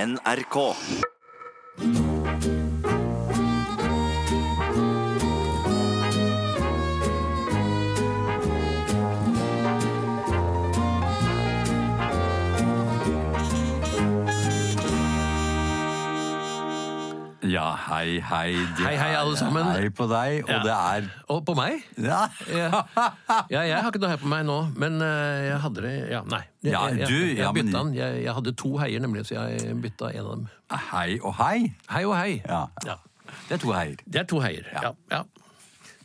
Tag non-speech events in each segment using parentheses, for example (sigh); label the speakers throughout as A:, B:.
A: NRK.
B: Ja, hei, hei. Det
C: Hei, hei, alle
B: er
C: sammen.
B: Hei på deg, og
C: Ja.
B: det er
C: Og på meg?
B: ja.
C: Ja. ja, jeg har ikke noe hei på meg nå, men eh, jeg hadde det Ja, nei. Jeg,
B: Ja,
C: jeg,
B: du,
C: jeg,
B: ja,
C: jeg
B: men-
C: bytta den. Jeg, jeg hadde to heier, nemlig, så jeg bytta en av dem.
B: Hei og hei.
C: Hei og hei.
B: Ja.
C: Ja.
B: Det er to heier.
C: Det er to heier. Ja. ja.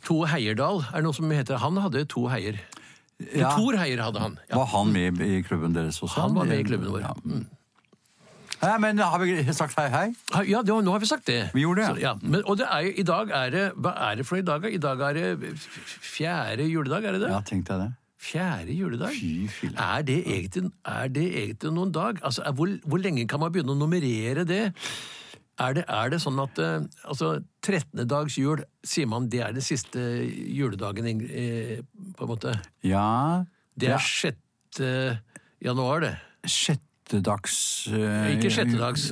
C: To Heierdal er det noe som heter. Han hadde to heier. Ja.
B: Ja.
C: Tor Heier hadde han. Ja.
B: Var han med i klubben deres også?
C: Han var med i klubben vår. Mm.
B: Ja. Nei, men har vi sagt hei, hei?
C: Ja, det, var- nå har vi sagt det.
B: Vi gjorde det,
C: Så, ja. Men, og det er, jo- i dag er det Hva er det for noe i dag? da? I dag er det fjerde juledag, er det det?
B: Ja, tenkte jeg det.
C: Fjerde juledag?
B: Fy fille.
C: Er det egentlig, er det egentlig noen dag? Altså, er, hvor, hvor lenge kan man begynne å nummerere det? Er det, er det sånn at eh, altså, 13. dags jul, sier man det er den siste juledagen, eh, på en måte?
B: Ja
C: Det
B: ja.
C: er 6. januar, det.
B: sjettedags eh,
C: Ikke sjettedags,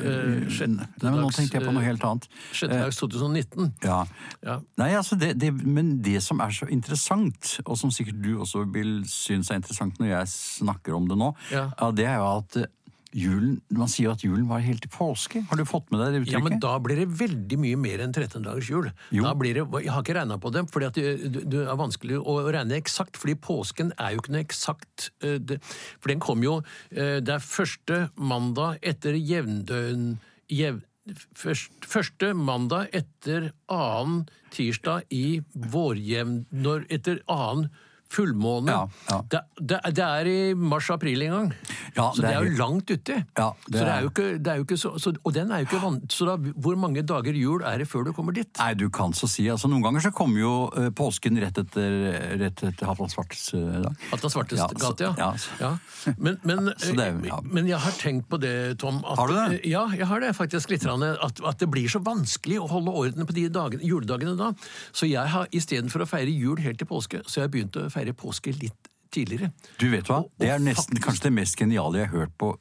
B: Nei,
C: eh,
B: men nå
C: sjettedags,
B: tenkte jeg på noe
C: eh,
B: helt annet.
C: 6. dags 2019.
B: Ja.
C: Ja.
B: Nei, altså det, det, men det som er så interessant, og som sikkert du også vil synes er interessant når jeg snakker om det nå,
C: Ja.
B: det er jo at eh, julen, man sier jo at julen var helt til påske. Har du fått med deg det uttrykket?
C: Ja, men da blir det veldig mye mer enn 13 dagers jul.
B: Jo.
C: Da blir det, jeg har ikke regna på det, for det, det er vanskelig å regne eksakt. fordi påsken er jo ikke noe eksakt eh, det, For den kom jo eh, Det er første mandag etter jevndøgn jev, først, Første mandag etter annen tirsdag i vårjevn... når- Etter annen fullmåne.
B: Ja, ja.
C: Det, det, det er i mars-april en gang.
B: Ja,
C: så
B: det
C: Altså, det
B: er
C: er jo
B: helt-
C: langt uti.
B: Ja, det
C: så det
B: er-
C: er jo ikke, det er jo ikke så, så, og den er jo ikke van, så da, hvor mange dager jul er det før du kommer dit?
B: Nei, du kan så si. altså Noen ganger så kommer jo eh, påsken rett etter, rett etter Halvdan Svartes eh, dag.
C: Atlas Svartes
B: Ja,
C: ja,
B: så-
C: gate, ja.
B: ja, så-
C: Ja. Men, men,
B: (laughs) Så det er jo- ja.
C: men jeg har tenkt på det, Tom. At,
B: Har du det?
C: Ja, jeg har det faktisk litt. grann, At, at det blir så vanskelig å holde orden på de dagene, juledagene da. Så jeg har istedenfor å feire jul helt til påske, så jeg begynte å feire påske litt tidligere.
B: Du vet hva,
C: Og-
B: det er
C: og
B: nesten kanskje det mest geniale jeg har hørt på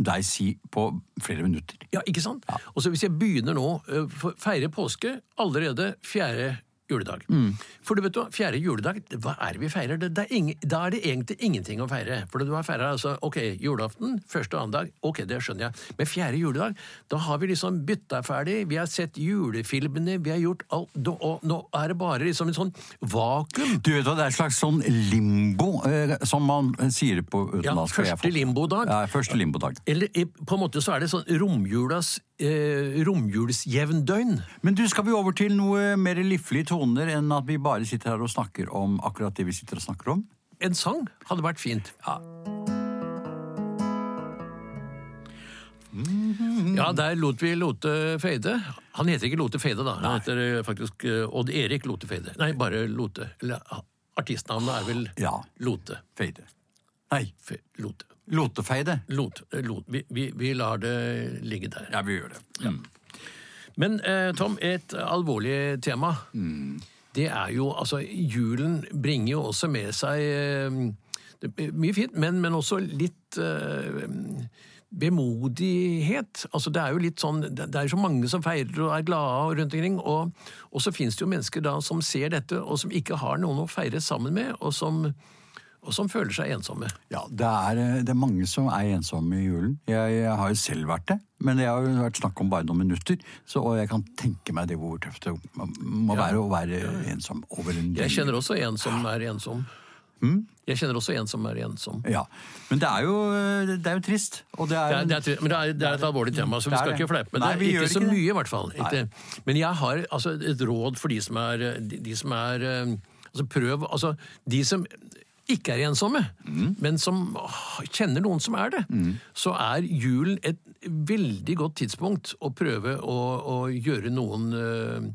B: deg si på flere minutter.
C: Ja, ikke sant? Og så hvis jeg begynner nå, ø, for- feire påske allerede fjerde juledag.
B: Mm.
C: For du vet hva, fjerde juledag, det- hva er det vi feirer? Det, det er ingen, da er det egentlig ingenting å feire. For du har feira altså, ok, julaften, første og annen dag, ok, det skjønner jeg. Men fjerde juledag, da har vi liksom bytta ferdig, vi har sett julefilmene, vi har gjort alt, da- og nå er det bare liksom en sånn vakuum.
B: Du vet hva, Det er et slags sånn limbo, eh, som man eh, sier på
C: Ja,
B: utenlandsk. har jeg
C: første
B: fått.
C: limbodag.
B: Ja, første limbodag.
C: Eller i- på en måte så er det sånn romjulas, eh, romjulsjevndøgn.
B: Men du, skal vi over til noe mer liflige toner enn at vi bare sitter her og snakker om akkurat det vi sitter og snakker om?
C: En sang hadde vært fint. Ja. Ja, der lot vi Lote Feide. Han heter ikke Lote Feide, da. Han heter eh, faktisk eh, Odd Erik Lote Feide. Nei, bare Lote. Eller ah, artistnavnet er vel
B: Ja.
C: Lote.
B: Feide. Nei,
C: Fe, Lote.
B: lotefeide.
C: Lote. eh, Lote. Vi, vi, vi lar det ligge der.
B: Ja, vi gjør det. Mm.
C: Men eh, Tom, et alvorlig tema. Det er jo Altså, julen bringer jo også med seg eh, det er mye fint, men, men også litt eh, Bemodighet. altså Det er jo litt sånn, det det er så mange som feirer og er glade og rundt omkring. Og, og så fins det jo mennesker da som ser dette, og som ikke har noen å feire sammen med, og som, og som føler seg ensomme.
B: Ja, det er, eh, det er mange som er ensomme i julen. Jeg, jeg har jo selv vært det, men det har jo vært snakk om bare noen minutter. Så, og jeg kan tenke meg det hvor tøft det må må være å være ensom over en
C: Jeg kjenner også en som er ensom. Jeg kjenner også en som er ensom.
B: Ja, Men det er jo, eh, det er jo trist. Og det
C: Det
B: er,
C: er, det er, tri- men det er, det er et alvorlig tema, så vi
B: Det er
C: skal
B: det.
C: ikke fleipe med
B: Nei,
C: det.
B: vi gjør
C: ikke så
B: ikke det.
C: mye, i hvert fall. Ikke. Men jeg har altså, et råd for de som er, de, de som er eh, altså, Prøv Altså, de som ikke er ensomme,
B: Mm.
C: men som ah, kjenner noen som er det, så er julen et veldig godt tidspunkt å prøve å, å gjøre noen eh,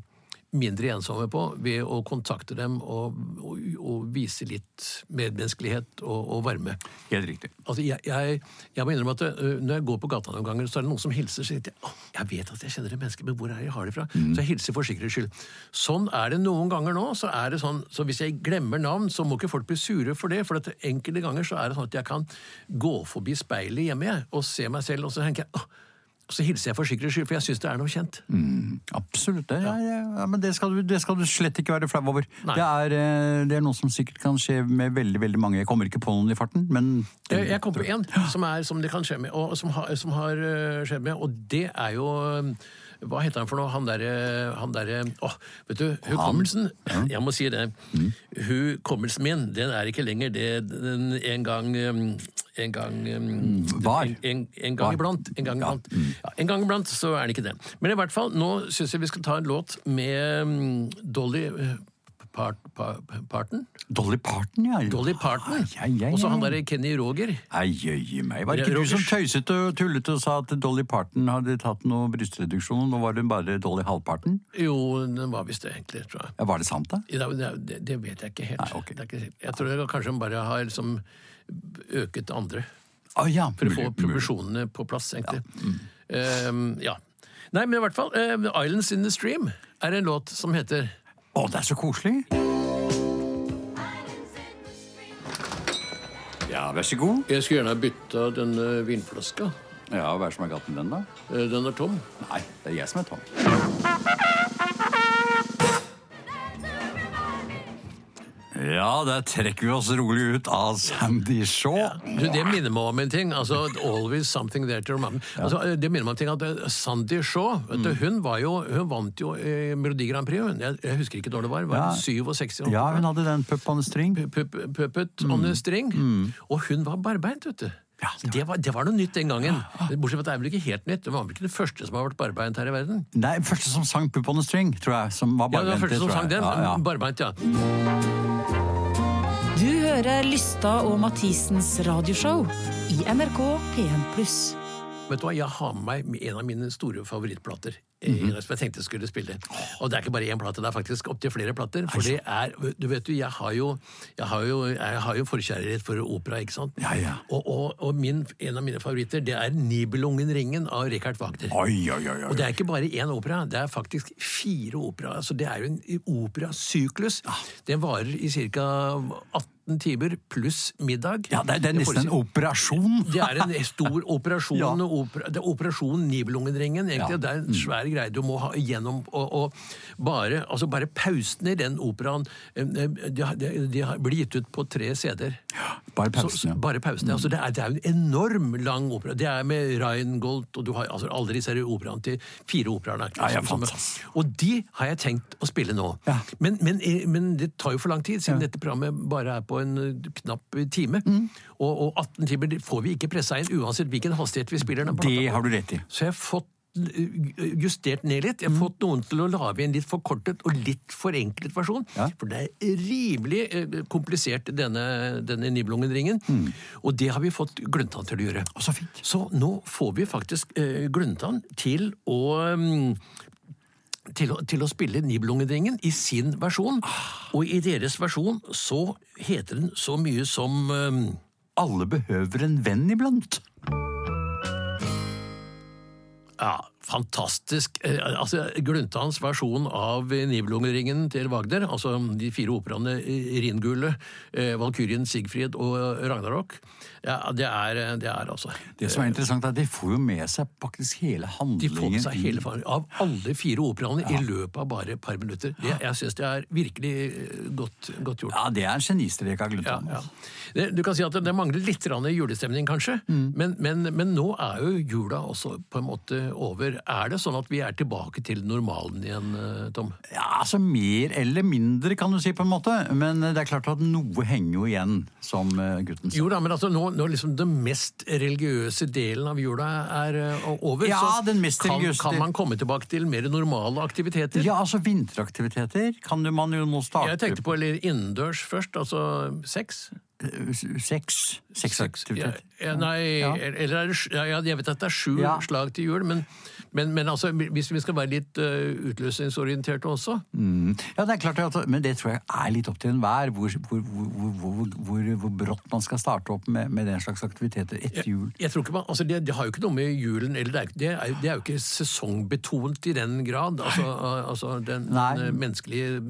C: mindre ensomme på ved å kontakte dem og, og, og vise litt medmenneskelighet og, og varme.
B: Helt riktig.
C: Altså, jeg, jeg, jeg må innrømme at øh, Når jeg går på gata noen ganger, så er det noen som hilser. Så tenker jeg «Åh, jeg vet at jeg kjenner det mennesket, men hvor er det jeg har det fra? Så jeg hilser for sikkerhets skyld. Sånn er det noen ganger nå. så er det sånn, så Hvis jeg glemmer navn, så må ikke folk bli sure for det. For at enkelte ganger så er det sånn at jeg kan gå forbi speilet hjemme jeg, og se meg selv, og så tenker jeg «Åh, Og så hilser jeg for sikkerhets skyld, for jeg syns det er noe kjent.
B: Mm, Absolutt. Det, er, eh, ja, men det, skal du, det skal du slett ikke være flau over.
C: Nei.
B: Det er, eh, det er noe som sikkert kan skje med veldig veldig mange. Jeg kommer ikke på noen i farten, men
C: Jeg, jeg kom på en som, er, som det kan skje med, og som, har- som har eh, skjedd med, og det er jo eh, Hva heter han for noe? Han derre han der, Å, vet du, hukommelsen Jeg må si det.
B: Mm.
C: Hukommelsen min, den er ikke lenger det den en gang eh, en gang eh,
B: Mm, Var.
C: En, en, en gang
B: Var. Mm.
C: iblant. En gang iblant. Ja, en gang iblant så er den ikke det. Men i hvert fall, nå syns jeg vi skal ta en låt med mm, Dolly eh, Part, Part- Parton.
B: Dolly Parton, ja.
C: Dolly Parton.
B: Ai, ai, ai,
C: Og så han
B: ai.
C: derre Kenny Roger.
B: Nei, jøye meg. Var det ikke du
C: Rogers.
B: som tøyset og tullet og sa at Dolly Parton hadde tatt noe brystreduksjon? Nå var det bare Dolly halvparten?
C: Jo, den var visst det, egentlig, tror jeg.
B: Ja, Var det sant, da?
C: I dag- Det, det, det vet jeg ikke helt.
B: Nei, ok.
C: det er ikke, sikkert. jeg tror jeg kanskje han bare har liksom øket andre.
B: Å ja,
C: For
B: mulig,
C: å få
B: mm. mulig.
C: proporsjonene på plass, egentlig. Ehm, ja. Nei, men i hvert fall eh, 'Islands In The Stream' er en låt som heter
B: Å, det er så koselig! Ja, vær så god.
C: Jeg skulle gjerne ha bytta denne vinflaska.
B: Ja, Hva er det som er galt med den, da?
C: Eh, Den er tom.
B: Nei, det er jeg som er tom. Ja, der trekker vi oss rolig ut av Sandy Shaw.
C: Du, det minner meg om en ting. altså Always something there to remember. Altså, eh, det minner meg om en ting at eh, Sandy Shaw vet
B: Mm.
C: du, hun, var jo, hun vant jo eh, Melodi Grand Prix. Hun. Jeg, jeg husker ikke når det var. Var
B: Ja.
C: det 67?
B: Ja, hun hadde den pup on a string.
C: Pup- Puppet on a string. Og hun var barbeint, vet du.
B: Mm. Ja,
C: Så det, var, det var noe nytt den gangen. Bortsett fra at det er vel ikke helt nytt. Hun var vel ikke den første som har vært barbeint her i verden.
B: Nei, første som sang Pup on a String, tror jeg. Som var
C: Ja,
B: barbeint,
C: det var første som
B: tror jeg.
C: sang den.
B: Ja, ja.
C: Barbeint, ja.
A: Du hører Lystad og Mathisens radioshow i NRK P1+.
C: Vet du hva, Jeg har med meg en av mine store favorittplater.
B: Mhm.
C: eh, Som jeg tenkte jeg skulle spille. Og det er ikke bare én plate, det er faktisk opptil flere plater. For det er, du vet jo, jeg har jo, jeg har jo, jeg har jo forkjærlighet for opera, ikke sant?
B: Ja, ja.
C: Og, og, og min, en av mine favoritter, det er Nibelungenringen av Richard Wagner.
B: Oi, oi, oi,
C: Og
B: oi.
C: det er ikke bare én opera, det er faktisk fire operaer. Så det er jo en operasyklus. Den varer i ca. 18 timer pluss middag.
B: Ja, det, er- det er
C: Jeg får
B: nesten en
C: si-
B: operasjon.
C: det er en stor operasjon.
B: (laughs) Ja.
C: og opera, det er operasjon Nibelungenringen. egentlig.
B: Ja. Mm.
C: Det er en svær greie du må ha igjennom. Og, og bare, altså bare pausene i den operaen eh, eh, de, har- de, de har- blir gitt ut på tre CD-er.
B: Bare
C: Så-
B: pausen, ja. Mm.
C: Bare pausene. Altså det, er, det er jo en enorm lang opera. Det er med Reingold og du har altså alle disse her operaene til fire operaene.
B: Ja, ja,
C: som- som-
B: fantastisk.
C: og de har jeg tenkt å spille nå.
B: Ja.
C: Men, men, men det tar jo for lang tid, siden dette programmet bare er på en eh, knapp time.
B: Mm.
C: Og, og 18 timer det får vi ikke pressa inn, uansett hvilken hastighet vi spiller den på.
B: Det har du rett i.
C: Så jeg har fått eh, justert ned litt. Jeg har fått noen til å lage en litt forkortet og litt forenklet versjon.
B: Ja.
C: For det er rimelig eh, komplisert, denne, denne Nibelungenringen. Og det har vi fått Gluntan til å gjøre.
B: Å, så fint.
C: Så nå får vi faktisk eh, Gluntan til å mm, til å, til å spille Nibelungenringen i sin versjon. Og i deres versjon så heter den så mye som eh,
B: Alle behøver en venn iblant.
C: Ja, fantastisk. Eh, Altså, Gluntans versjon av Nibelungenringen til Wagner, altså de fire operaene eh, Ringgullet, eh, Valkyrien, Sigfrid og Ragnarok, ja, det er, det er altså
B: Det som er interessant, er at de får jo med seg faktisk hele
C: De får
B: handlingen.
C: med seg hele faren av alle fire operaene i løpet av bare et par minutter. Det, jeg syns det er virkelig eh, godt, godt gjort.
B: Ja, det er en genistrek av
C: Ja,
B: Gluntan.
C: ja. Det- Du kan si at det- det mangler litt grann i julestemning, kanskje, men, men, men nå er jo jula også på en måte over. Er det sånn at vi er tilbake til normalen igjen, eh, Tom?
B: Ja, altså Mer eller mindre, kan du si, på en måte. Men eh, det er klart at noe henger jo igjen, som eh, gutten sa.
C: Jo da, men altså nå, når liksom den mest religiøse delen av jula er eh, over,
B: Ja,
C: så
B: den mest
C: kan,
B: religiøse
C: kan
B: del-
C: man komme tilbake til mer normale aktiviteter.
B: Ja, altså vinteraktiviteter kan jo man jo nå starte
C: Jeg tenkte på eller innendørs først, altså sex.
B: eh, Sex.
C: Ja,
B: Sexaktiviteter.
C: ja, nei,
B: Ja.
C: eller er det sj- ja, ja, Jeg vet at det er sju
B: Ja.
C: slag til jul, men, men, men altså, hvis vi skal være litt eh, utløsningsorienterte også
B: Mm. Ja, det er klart, at- men det tror jeg er litt opp til enhver hvor, hvor, hvor, hvor, hvor, hvor brått man skal starte opp med, med den slags aktiviteter etter jul.
C: Jeg tror ikke man, altså det, det har jo ikke noe med julen eller Det er, jo- det er, jo- det er jo ikke sesongbetont i den grad. Altså, altså den,
B: Nei.
C: den menneskelige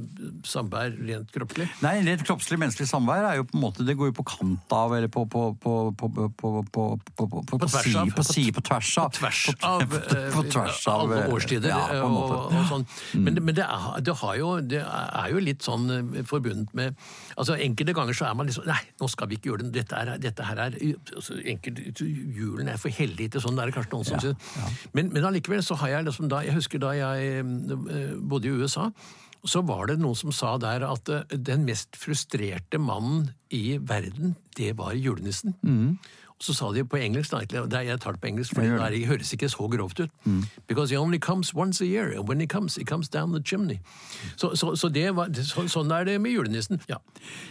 C: samvær rent kroppslig.
B: Nei, rent kroppslig menneskelig samvær er jo på en måte det går jo på kant av, eller på På på- på- på- på- på- på- på- på- på
C: tvers
B: si-
C: av.
B: på si- på tvers av.
C: På tvers av,
B: (laughs) på- på tvers av,
C: alle
B: eh,
C: årstider.
B: Ja, på en
C: og,
B: måte. Mm.
C: og sånn. Men, men det, er, det, har jo, det er jo litt sånn eh, forbundet med altså Enkelte ganger så er man liksom Nei, nå skal vi ikke gjøre det. Dette, er, dette her er altså, enkelt, Julen er for hellig til sånn. Det er det kanskje noen som synes. Men, men allikevel så har jeg liksom da Jeg husker da jeg eh, bodde i USA. Så var det noen som sa der at eh, den mest frustrerte mannen i verden, det var julenissen.
B: Mm.
C: Og så sa de på engelsk, da, egentlig, og det er- jeg tar det på engelsk, for
B: Ja, gjør
C: det Mm.
B: det.
C: er det høres ikke så grovt ut. Because he only comes once a year, and when he comes, he comes down the chimney. Så, så, så det var, så, sånn er det med julenissen. Ja.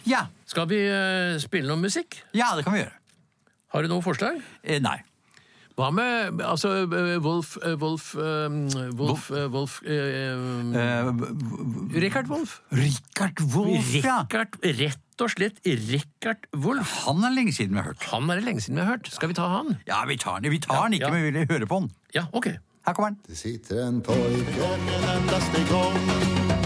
B: Ja,
C: Skal vi eh, spille noe musikk?
B: ja, det kan vi gjøre.
C: Har du noe forslag?
B: Eh, Nei.
C: Hva med altså, eh, Wolf eh, Wolf eh, Wolf, eh, Wolf eh,
B: Eh, v- v-
C: Richard Wolf.
B: Richard Wolff, ja.
C: Richard, rett og slett Richard Wolf.
B: Han er lenge siden vi har hørt.
C: Han er det lenge siden vi har hørt. Skal vi ta han?
B: Ja, vi tar den, vi tar den ikke,
C: ja.
B: men vi vil høre på den.
C: Ja, ok.
B: Her kommer den.
D: Det sitter en pojke en endaste gång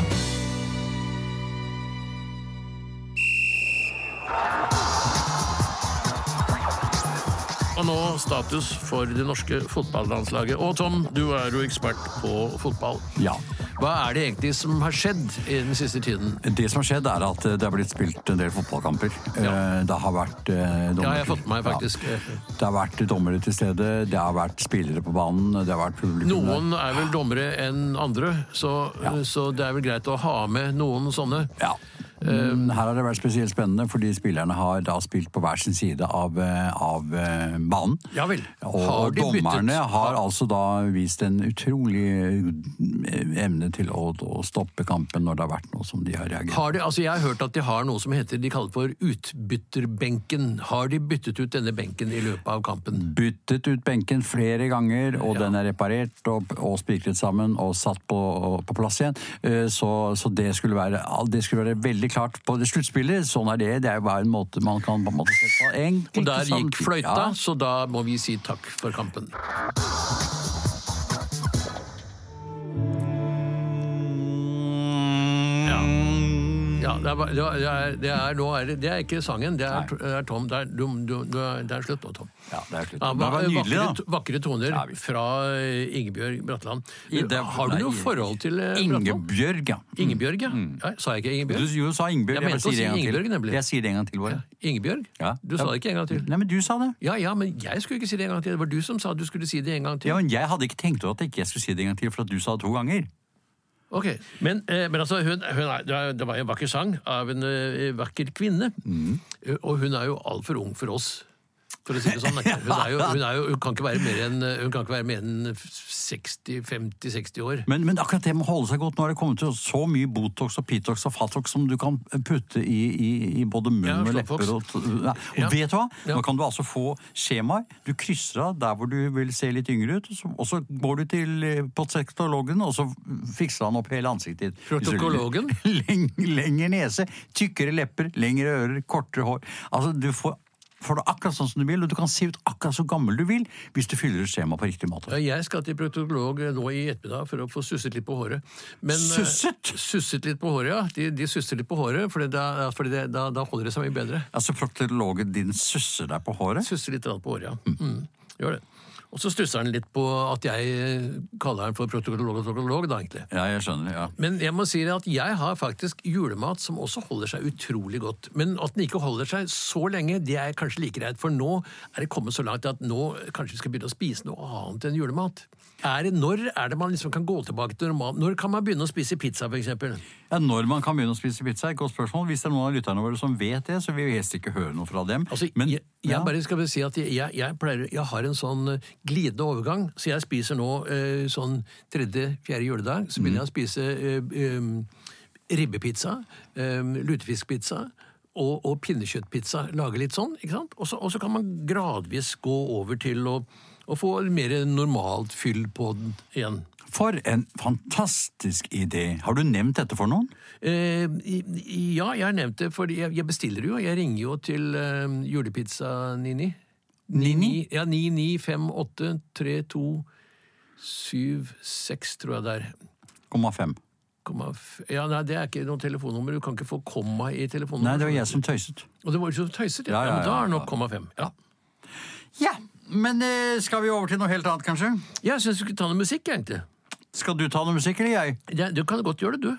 C: Og nå status for det norske fotballandslaget. Og Tom, du er jo ekspert på fotball.
B: Ja.
C: Hva er det egentlig som har skjedd i den siste tiden?
B: Det som har skjedd, er at eh, det har blitt spilt en del fotballkamper.
C: Ja.
B: Eh, Det har vært eh, dommer.
C: Ja, jeg har fått med meg faktisk.
B: Ja. Det har vært dommere til stede, det har vært spillere på banen, det har vært publikum. der.
C: Noen er vel dommere enn andre, så, så det er vel greit å ha med noen sånne.
B: Ja.
C: Um,
B: Mm, Her har det vært spesielt spennende, fordi spillerne har da spilt på hver sin side av, eh, av eh, banen.
C: Ja vel.
B: Og,
C: Har
B: og
C: de byttet?
B: dommerne har
C: Har-
B: altså da vist en utrolig eh, evne til å, å stoppe kampen når det har vært noe som de har reagert på.
C: Har de, altså jeg har hørt at de har noe som heter, de kaller for utbytterbenken. Har de byttet ut denne benken i løpet av kampen?
B: Byttet ut benken flere ganger, og den er reparert og, og spikret sammen og satt på, på plass igjen. Eh, Så, så det, skulle være, det skulle være veldig klart på det sluttspillet. Sånn er det. Det er jo bare en måte man kan på en måte se på. Enkelt,
C: Og der
B: sånn.
C: gikk fløyta,
B: Ja.
C: så da må vi si takk for kampen. Ja. Ja, det er, bare- det er, det er, nå er det, det er ikke sangen, det er, det er Tom. Det er, du, du, du er, det er slutt nå, Tom.
B: Ja, det er slutt.
C: Ja,
B: Men det var nydelig,
C: vakre,
B: da.
C: vakre toner
B: Ja, visst.
C: fra eh, Ingebjørg Bratland.
B: I det-
C: Har du
B: nei,
C: noe forhold til eh, Bratland?
B: Ingebjørg, ja.
C: Ingebjørg, ja. ja. Sa jeg
B: Mm. Du
C: ikke Ingebjørg?
B: jo, sa Ingebjørg.
C: Jeg
B: bare
C: mente å
B: sier det
C: si
B: en gang til.
C: Ingebjørg, nemlig.
B: Jeg sier det en gang til, bare.
C: Ingebjørg?
B: Ja.
C: Du sa det ikke en gang til.
B: Nei, men du sa det.
C: Ja, ja, men jeg skulle ikke si det en gang til. Det var du som sa du skulle si det en gang til.
B: Ja, men jeg hadde ikke tenkt over at jeg ikke skulle si det en gang til, for at du sa det to ganger.
C: Ok, Men, eh, men altså, hun, hun er, det er- det var jo en vakker sang av en eh, vakker kvinne. Eh, Og hun er jo altfor ung for oss. For å si det sånn. Hun, er jo, hun, er jo, hun kan ikke være mer enn hun kan ikke være mer enn 60-50-60 år.
B: Men, men akkurat det med å holde seg godt, nå har det kommet til så mye Botox og Pitox og Fatox som du kan eh, putte i, i, i både munn
C: Ja,
B: og
C: slåfox.
B: lepper. Og, t- nei, og
C: Ja.
B: vet du hva?
C: Ja.
B: Nå kan du altså få skjemaer. Du krysser av der hvor du vil se litt yngre ut, og så, og så går du til eh, på sektologen, og så fikser han opp hele ansiktet ditt. Hvis du vil.
C: Protokologen?
B: (laughs) Leng, lengre nese, tykkere lepper, lengre ører, kortere hår. Altså, du får, får det akkurat sånn som du vil, og du kan se ut akkurat så gammel du vil hvis du fyller ut skjemaet på riktig måte.
C: Ja, Jeg skal til protokolog nå i ettermiddag for å få susset litt på håret. Men, eh,
B: Susset?
C: Susset litt på håret, ja. De, de susser litt på håret, for da, fordi det- da, da holder det seg mye bedre.
B: Altså, Proktologen din susser deg på håret?
C: Susser litt grann på håret, ja. Mm. Gjør det. Og så stusser han litt på at jeg eh, kaller han for protokolog og protokolog, da, egentlig.
B: Ja, jeg skjønner. ja.
C: Men jeg må si det at jeg har faktisk julemat som også holder seg utrolig godt. Men at den ikke holder seg så lenge, det er kanskje like greit. For nå er det kommet så langt at nå kanskje vi skal begynne å spise noe annet enn julemat. Er det, når er det man liksom kan gå tilbake til normalt? Når kan man begynne å spise pizza, for eksempel?
B: Ja, Når man kan begynne å spise pizza, er et godt spørsmål. Hvis det er noen av lytterne våre som vet det, så vil vi helst ikke høre noe fra dem.
C: Altså,
B: liksom. Men-
C: jeg, jeg
B: ja.
C: bare skal bare si at jeg, jeg, jeg, pleier, jeg har en sånn eh, glidende overgang, så jeg spiser nå eh, sånn tredje-fjerde juledag, så
B: Mm.
C: begynner jeg å spise eh, em, ribbepizza, em, lutefiskpizza og, og pinnekjøttpizza. Lage litt sånn, ikke sant? Og så, og så kan man gradvis gå over til å, å få mer normalt fyll på den igjen.
B: For en fantastisk idé! Har du nevnt dette for noen?
C: Eh, i- i- ja, jeg har nevnt det, for jeg, jeg bestiller jo. Jeg ringer jo til eh, julepizza Nini. Nini? Ja, 99583276, tror jeg det er.
B: 0,5.
C: komma- Ja, nei, det er ikke noe telefonnummer. Du kan ikke få komma i
B: Nei,
C: telefonnummeret.
B: det var jeg som tøyset.
C: Og det var jo så tøyset, ja.
B: Ja,
C: ja,
B: ja,
C: men da
B: ja,
C: er nok
B: ja.
C: komma fem. Ja.
B: Ja, men eh, skal vi over til noe helt annet, kanskje?
C: Jeg syns du skulle ta noe musikk, jeg, egentlig.
B: Skal du ta noe musikk, eller jeg?
C: Ja, du kan godt gjøre det, du.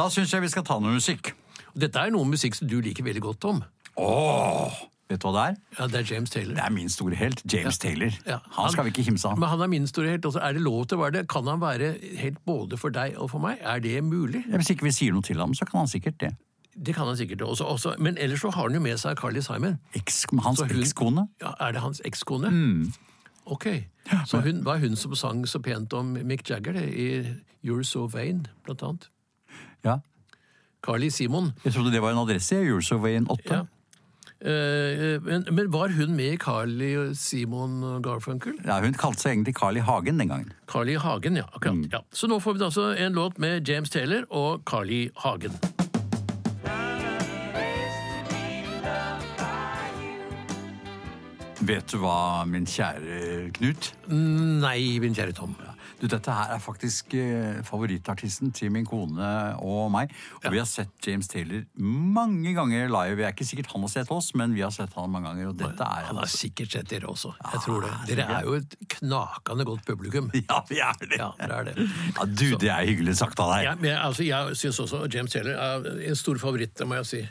B: Da syns jeg vi skal ta noe musikk.
C: Dette er noe musikk som du liker veldig godt, Tom.
B: Åh, vet du hva det er?
C: Ja, Det er James Taylor.
B: Det er min store helt, James Taylor.
C: Ja,
B: Han skal vi ikke kimse av.
C: Men han er min store helt. Også. Er det lov til å være det? Kan han være helt både for deg og for meg? Er det mulig?
B: Hvis ikke vi sier noe til ham, så kan han sikkert det.
C: Det kan han sikkert også. også. Men ellers så har han jo med seg Carly Simon.
B: Eks, hans
C: Så hun-
B: ekskone.
C: Ja, er det hans ekskone? Ok. Så hun, var hun som sang så pent om Mick Jagger det, i You're So Vain, blant annet.
B: Ja.
C: Carly Simon.
B: Jeg trodde det var en adresse i Eurosoveien 8.
C: Ja. Eh, men, men var hun med i Carly og Simon og Garfunkel?
B: Ja, hun kalte seg egentlig Carl i Hagen den gangen.
C: Carly Hagen, ja. akkurat. Ja. Så nå får vi da altså en låt med James Taylor og Carly Hagen.
B: Vet du hva, min kjære Knut?
C: Nei, min kjære Tom.
B: Du, dette her er faktisk eh, favorittartisten til min kone og meg. Og vi har sett James Taylor mange ganger live. Det er ikke sikkert han har sett oss, men vi har sett han mange ganger. Og dette er
C: Han har
B: altså-
C: sikkert sett dere også. Jeg tror det. Dere er jo et knakende godt publikum.
B: (laughs) Ja, vi er det!
C: Ja, det er det.
B: Ja, du, det er hyggelig sagt av deg.
C: Ja, men jeg, altså, jeg syns også James Taylor er en stor favoritt, det må jeg si.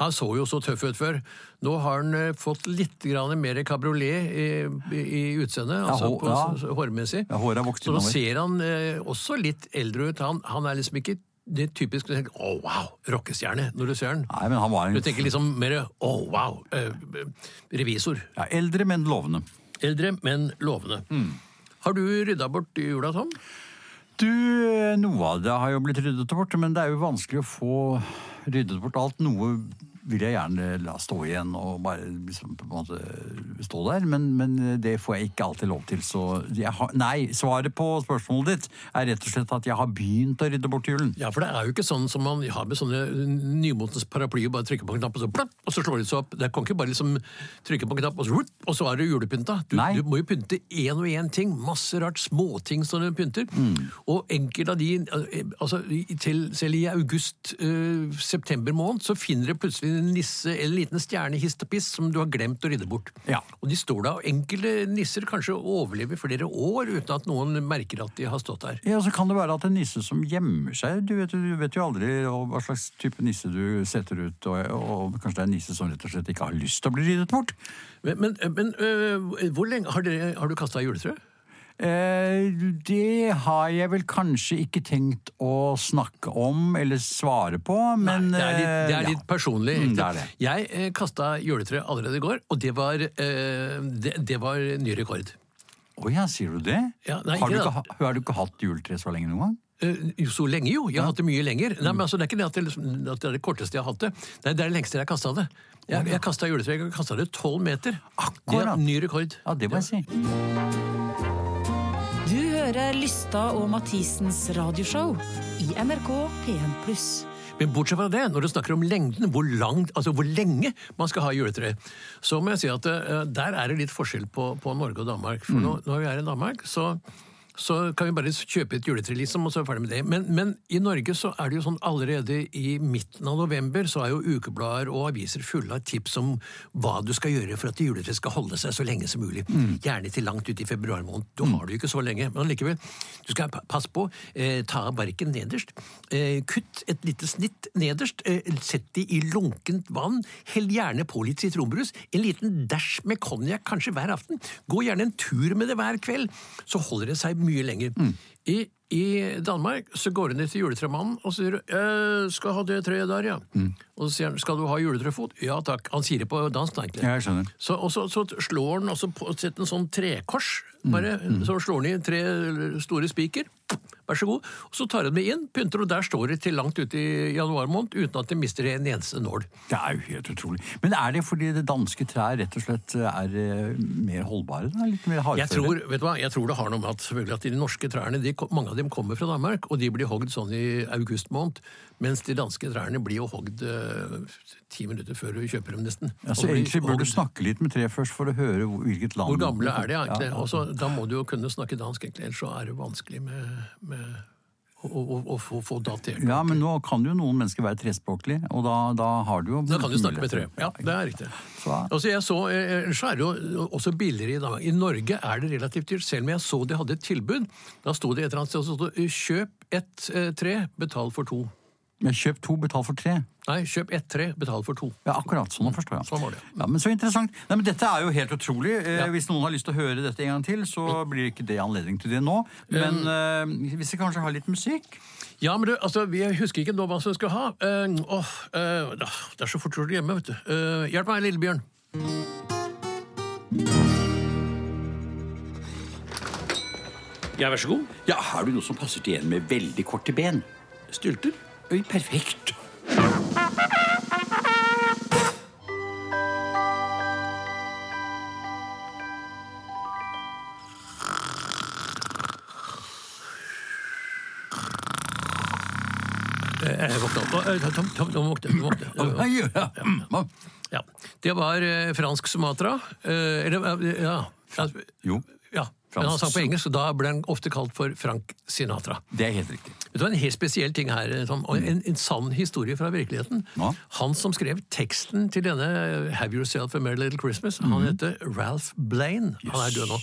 C: Han så jo så tøff ut før. Nå har han eh, fått litt grann mer kabriolet i, i, i utseendet, altså
B: hå-
C: på,
B: ja.
C: s- s- hårmessig.
B: Ja, håret har vokst
C: så nå
B: innover.
C: ser han eh, også litt eldre ut. Han, han er liksom ikke det typiske du tenker 'å wow', rockestjerne, når du ser han.
B: Nei, men han var en
C: Du tenker liksom mer 'å wow', eh, revisor.
B: ja, eldre, men lovende.
C: Eldre, men lovende. Har du rydda bort jula, Tom?
B: Du, noe av det har jo blitt ryddet bort, men det er jo vanskelig å få ryddet bort alt. Noe vil jeg gjerne la stå igjen og bare liksom på en måte stå der, men, men det får jeg ikke alltid lov til. Så jeg har, nei, svaret på spørsmålet ditt er rett og slett at jeg har begynt å rydde bort julen.
C: Ja, for det er jo ikke sånn som man har med sånne nymotens paraplyer, bare trykker på en knapp, og så, plapp, og så slår det seg opp. Det kan ikke bare liksom trykke på en knapp, og så, rup, og så er det julepynta. Du,
B: Nei.
C: du må jo pynte én og én ting. Masse rart. Småting som du pynter.
B: Mm.
C: Og enkelte av de altså, i- til, Selv i august-september måned så finner du plutselig en nisse eller en liten stjerne hist og piss som du har glemt å rydde bort.
B: Ja.
C: Og de står der, og enkelte nisser kanskje overlever flere år uten at noen merker at de har stått der.
B: Ja, så kan det være at en nisse som gjemmer seg Du vet, du vet jo aldri hva slags type nisse du setter ut, og, og kanskje det er en nisse som rett og slett ikke har lyst til å bli ryddet bort.
C: Men, men, eh, men øh, hvor lenge har, dere, har du kasta juletre?
B: Eh, det har jeg vel kanskje ikke tenkt å snakke om eller svare på, men
C: det er litt,
B: eh,
C: det er
B: ja.
C: litt personlig.
B: Mm,
C: egentlig.
B: det er det.
C: Jeg eh, kasta juletre allerede i går, og det var, øh, det, det var ny rekord.
B: Å ja, sier du det?
C: Ja, nei,
B: har, du
C: ikke
B: ikke,
C: det.
B: ha- har du ikke hatt juletre så lenge noen gang?
C: Eh, jo, så lenge, jo. Jeg har hatt det mye lenger. Nei,
B: Mm.
C: men altså, det er ikke det at det, liksom, at det er det korteste jeg har hatt det. Nei, det er det lengste jeg har kasta det. Jeg, jeg kasta juletre jeg kastet det tolv meter. Det
B: Akkurat.
C: er ny rekord.
B: Ja, det må jeg si.
A: Du hører Lystad og Mathisens radioshow i NRK P1+.
C: Men bortsett fra det, når du snakker om lengden, hvor, langt, altså hvor lenge man skal ha juletre, så må jeg si at eh, der er det litt forskjell på, på Norge og Danmark. For nå, når vi er i Danmark, så, så kan vi bare kjøpe et juletre, liksom, og så er vi ferdig med det. Men, men i Norge så er det jo sånn allerede i midten av november så er jo ukeblader og aviser fulle av tips om hva du skal gjøre for at juletreet skal holde seg så lenge som mulig. Gjerne til langt ut i februar måned. Du har det jo ikke så lenge, men allikevel. Du skal pa- passe på. Eh, ta av barken nederst. Eh, kutt et lite snitt nederst. Eh, sett det i lunkent vann. Hell gjerne på litt sitronbrus. En liten dash med konjakk kanskje hver aften. Gå gjerne en tur med det hver kveld. Så holder det seg mye lenger.
B: Mm.
C: I i Danmark så går du ned til juletremannen og sier «Jeg skal ha det treet der, ja.
B: Mm.
C: Og så sier han skal du ha juletrefot? Ja takk. Han sier det på dansk, da, egentlig.
B: Ja, jeg skjønner.
C: Så, og så, så slår han også på setter en sånn trekors.
B: Mm,
C: Bare, Så slår han i tre store spiker. Vær så god. Og så tar han det inn, pynter, og der står det til langt ut i januar måned uten at det mister en eneste nål.
B: Det er jo helt utrolig. Men er det fordi det danske trær rett og slett er eh, mer holdbare? Da? Litt mer hardføre?
C: Jeg tror, vet du hva, jeg tror det har noe med at, selvfølgelig, at de norske trærne de, kom- mange av dem kommer fra Danmark, og de blir hogd sånn i august måned, mens de danske trærne blir jo hogd eh, ti minutter før du kjøper dem, nesten.
B: Ja,
C: Og
B: så Altså,
C: blir
B: egentlig burde
C: hogd-
B: du snakke litt med treet først for å høre hvor- hvilket land
C: Hvor gamle er de? altså,
B: Ja,
C: egentlig? Også, da må du jo kunne snakke dansk, egentlig, ellers så er det vanskelig med, med og, og, og få, få datert.
B: Ja, men nå kan jo noen mennesker være trespråklige, og da, da har du jo
C: Da kan du snakke med tre. Ja, det er riktig.
B: Så-
C: Altså, jeg så, eh, Ellers er det jo også billigere i dag. I Norge er det relativt dyrt, selv om jeg så de hadde et tilbud. Da sto det et eller annet sted, så stod det 'kjøp ett eh, tre, betal for to'.
B: Men kjøp to, betal for tre.
C: Nei, kjøp ett tre, betal for to.
B: Ja, akkurat. Sånn å forstå, ja.
C: Sånn var det.
B: Ja, men Så interessant. Nei, men Dette er jo helt utrolig. Eh,
C: Ja. Mm.
B: Hvis noen har lyst til å høre dette en gang til, så blir ikke det anledning til det nå. Men eh, hvis vi kanskje har litt musikk?
C: Ja, men du, altså, Jeg husker ikke nå hva som skulle ha. Eh, åh, eh, da, det er så fort gjort hjemme, vet du. Eh, hjelp meg, Lillebjørn.
E: Ja, vær så god.
B: Ja, Har du noe som passer til en med veldig korte ben?
E: Stylter?
B: Øy, perfekt.
C: Eh, jeg våkna opp. Eh, Tom, Tom, Tom, våkne, Tom, våkne. Eh,
B: Oi, ja. Mm.
C: Ja. Det var eh, fransk Sumatra. Eh, eller, eh, ja.
B: Jo,
C: ja. Men han sang på engelsk, og da ble han ofte kalt for Frank Sinatra.
B: det er helt riktig.
C: Vet du hva, En helt spesiell ting her, eh, Tom, og en, en sann historie fra virkeligheten.
B: Ja.
C: Han som skrev teksten til denne eh, Have Yourself a Merry Little Christmas, han heter Ralph Blaine. Han er død nå.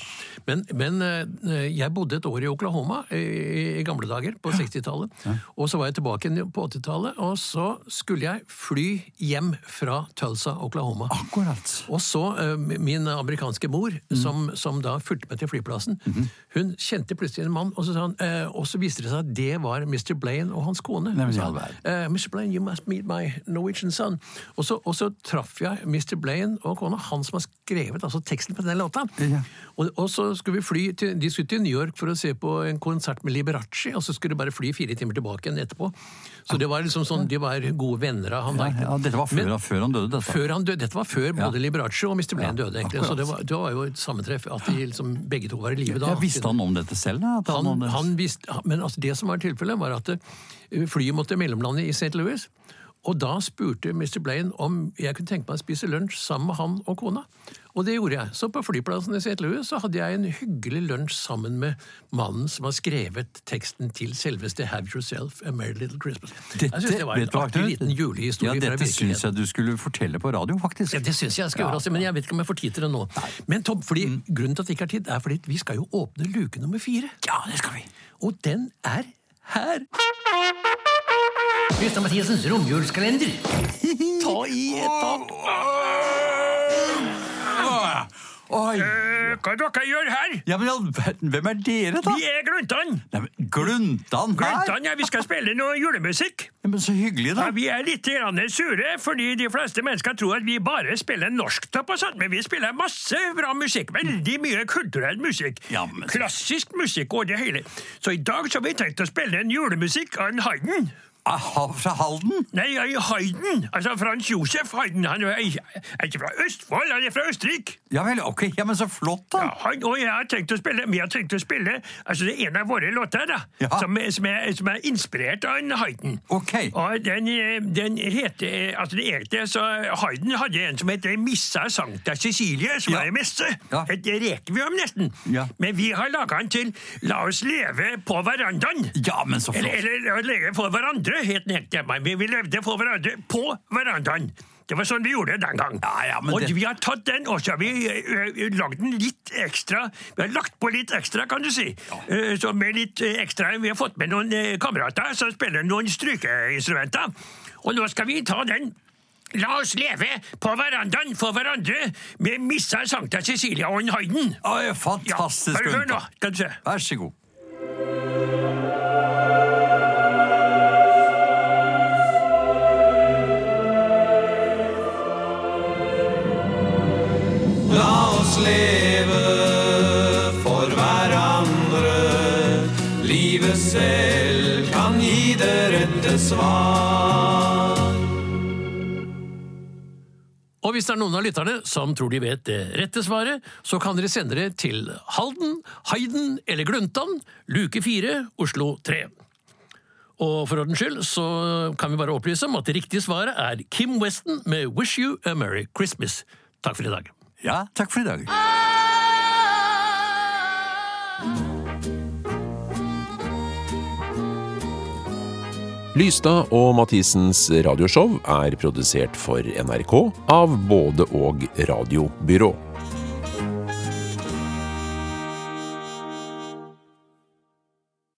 C: Men, men eh, jeg bodde et år i Oklahoma eh, i, i gamle dager, på 60-tallet. Og så var jeg tilbake igjen på 80-tallet, og så skulle jeg fly hjem fra Tulsa, Oklahoma.
B: Akkurat.
C: Og så eh, min amerikanske mor,
B: Mm.
C: som, som da fulgte meg til flyplassen,
B: Mm-hmm.
C: hun kjente plutselig en mann, og så, sa han, eh, og så viste det seg at det var Mr. Blaine og hans kone.
B: men
C: Så sa
B: i all
C: han,
B: verden.
C: eh, Mr. Blaine, you must meet my Norwegian son. Og så, og så traff jeg Mr. Blaine og kona, han som har skrevet altså, teksten på den låta.
B: Ja.
C: Og, og så skulle vi fly til, de skulle til New York for å se på en konsert med Liberace, og så skulle de bare fly fire timer tilbake igjen etterpå. Så det var liksom sånn, de var gode venner av han.
B: Ah. Ja,
C: da.
B: ja, dette var før,
C: Men-
B: før han døde, dette.
C: før han døde, Dette var før både Liberace og Mr. Blaine
B: Ja,
C: døde. egentlig,
B: akkurat.
C: så det var, det var jo et sammentreff at de liksom, begge to var i live da.
B: Ja, visste han om dette selv? da, at
C: Han,
B: hadde-
C: han visste, men altså det som var tilfellet, var at eh, flyet måtte mellomlande i St. Louis. Og da spurte Mr. Blaine om jeg kunne tenke meg å spise lunsj sammen med han og kona. Og det gjorde jeg. Så på flyplassen i St. Louis så hadde jeg en hyggelig lunsj sammen med mannen som har skrevet teksten til selveste Have Yourself a Merry Little Christmas. jeg synes det var
B: vet du
C: en
B: hva,
C: artig
B: Knut?
C: liten julehistorie
B: Ja,
C: fra
B: dette
C: virkeligheten.
B: syns jeg du skulle fortelle på radio, faktisk.
C: Ja, det syns jeg skal gjøre, altså, men jeg vet ikke om jeg får tid til det nå. Men Tom, fordi, Grunnen til at det ikke er tid, er fordi at vi skal jo åpne luke nummer fire. Ja, det skal vi. Og den er her. Kristian Mathiasens romjulskalender. Ta i et tak.
B: Oi!
C: Hva er det dere gjør her?
B: Ja, men i all verden, hvem er dere, da?
C: er Gluntan.
B: Nei, men Gluntan her?
C: ja, vi skal spille noe julemusikk.
B: Ja, men så hyggelig, da.
C: vi er litt sure, fordi de fleste mennesker tror at vi bare spiller norsktopp og sånt, men vi spiller masse bra musikk. Veldig mye kulturell musikk.
B: Ja, men-
C: Klassisk musikk og det hele. Så i dag så har vi tenkt å spille en julemusikk av en Haydn.
B: Aha, Ah, fra Halden?
C: Nei, av en Haydn. Altså Frans Josef Haydn. Han er er ikke fra Østfold, han er fra Østerrike.
B: Ja vel, ok. Ja, men så flott,
C: Ja,
B: da.
C: han og jeg har tenkt å spille, vi har tenkt å spille altså det er en av våre låter da,
B: Ja.
C: som, er- som, er, som er inspirert av en Haydn.
B: Ok.
C: Og den, eh, den heter eh, Altså, det egentlig så Haydn hadde en som het Missa Sankta Cecilie, som
B: Ja.
C: er en messe.
B: Ja.
C: Et rekvium, nesten.
B: Ja.
C: Men vi har laga den til La oss leve på verandaen.
B: Ja, men så
C: Eller,
B: flott.
C: eller La oss leve for hverandre, het den helt hjemme. Men vi levde for hverandre på verandaen. Det var sånn vi gjorde det den gang.
B: Ja, ja, men
C: og
B: det-
C: vi har tatt den, og så har vi ø, ø, lagd den litt ekstra. Vi har lagt på litt ekstra, kan du si. Eh, Så med litt eh, ekstra, Vi har fått med noen eh, kamerater som spiller noen strykeinstrumenter. Og nå skal vi ta den. La oss leve på verandaen for hverandre med Missa Sankta Cecilia og en Haydn.
B: Oi,
C: Ja,
B: fantastisk.
C: har du hørt nå?
B: Gluntan.
C: Skal du se.
B: Vær så god.
F: La oss leve for hverandre. Livet selv kan gi det rette svar.
C: Og hvis det er noen av lytterne som tror de vet det rette svaret, så kan dere sende det til Halden, Heiden eller Gluntan, luke 4, Oslo 3. Og for ordens skyld så kan vi bare opplyse om at det riktige svaret er Kim Weston med Wish You a Merry Christmas. Takk for i dag.
B: Ja, takk for i dag.
G: Lystad og Mathisens radioshow er produsert for NRK av både og radiobyrå.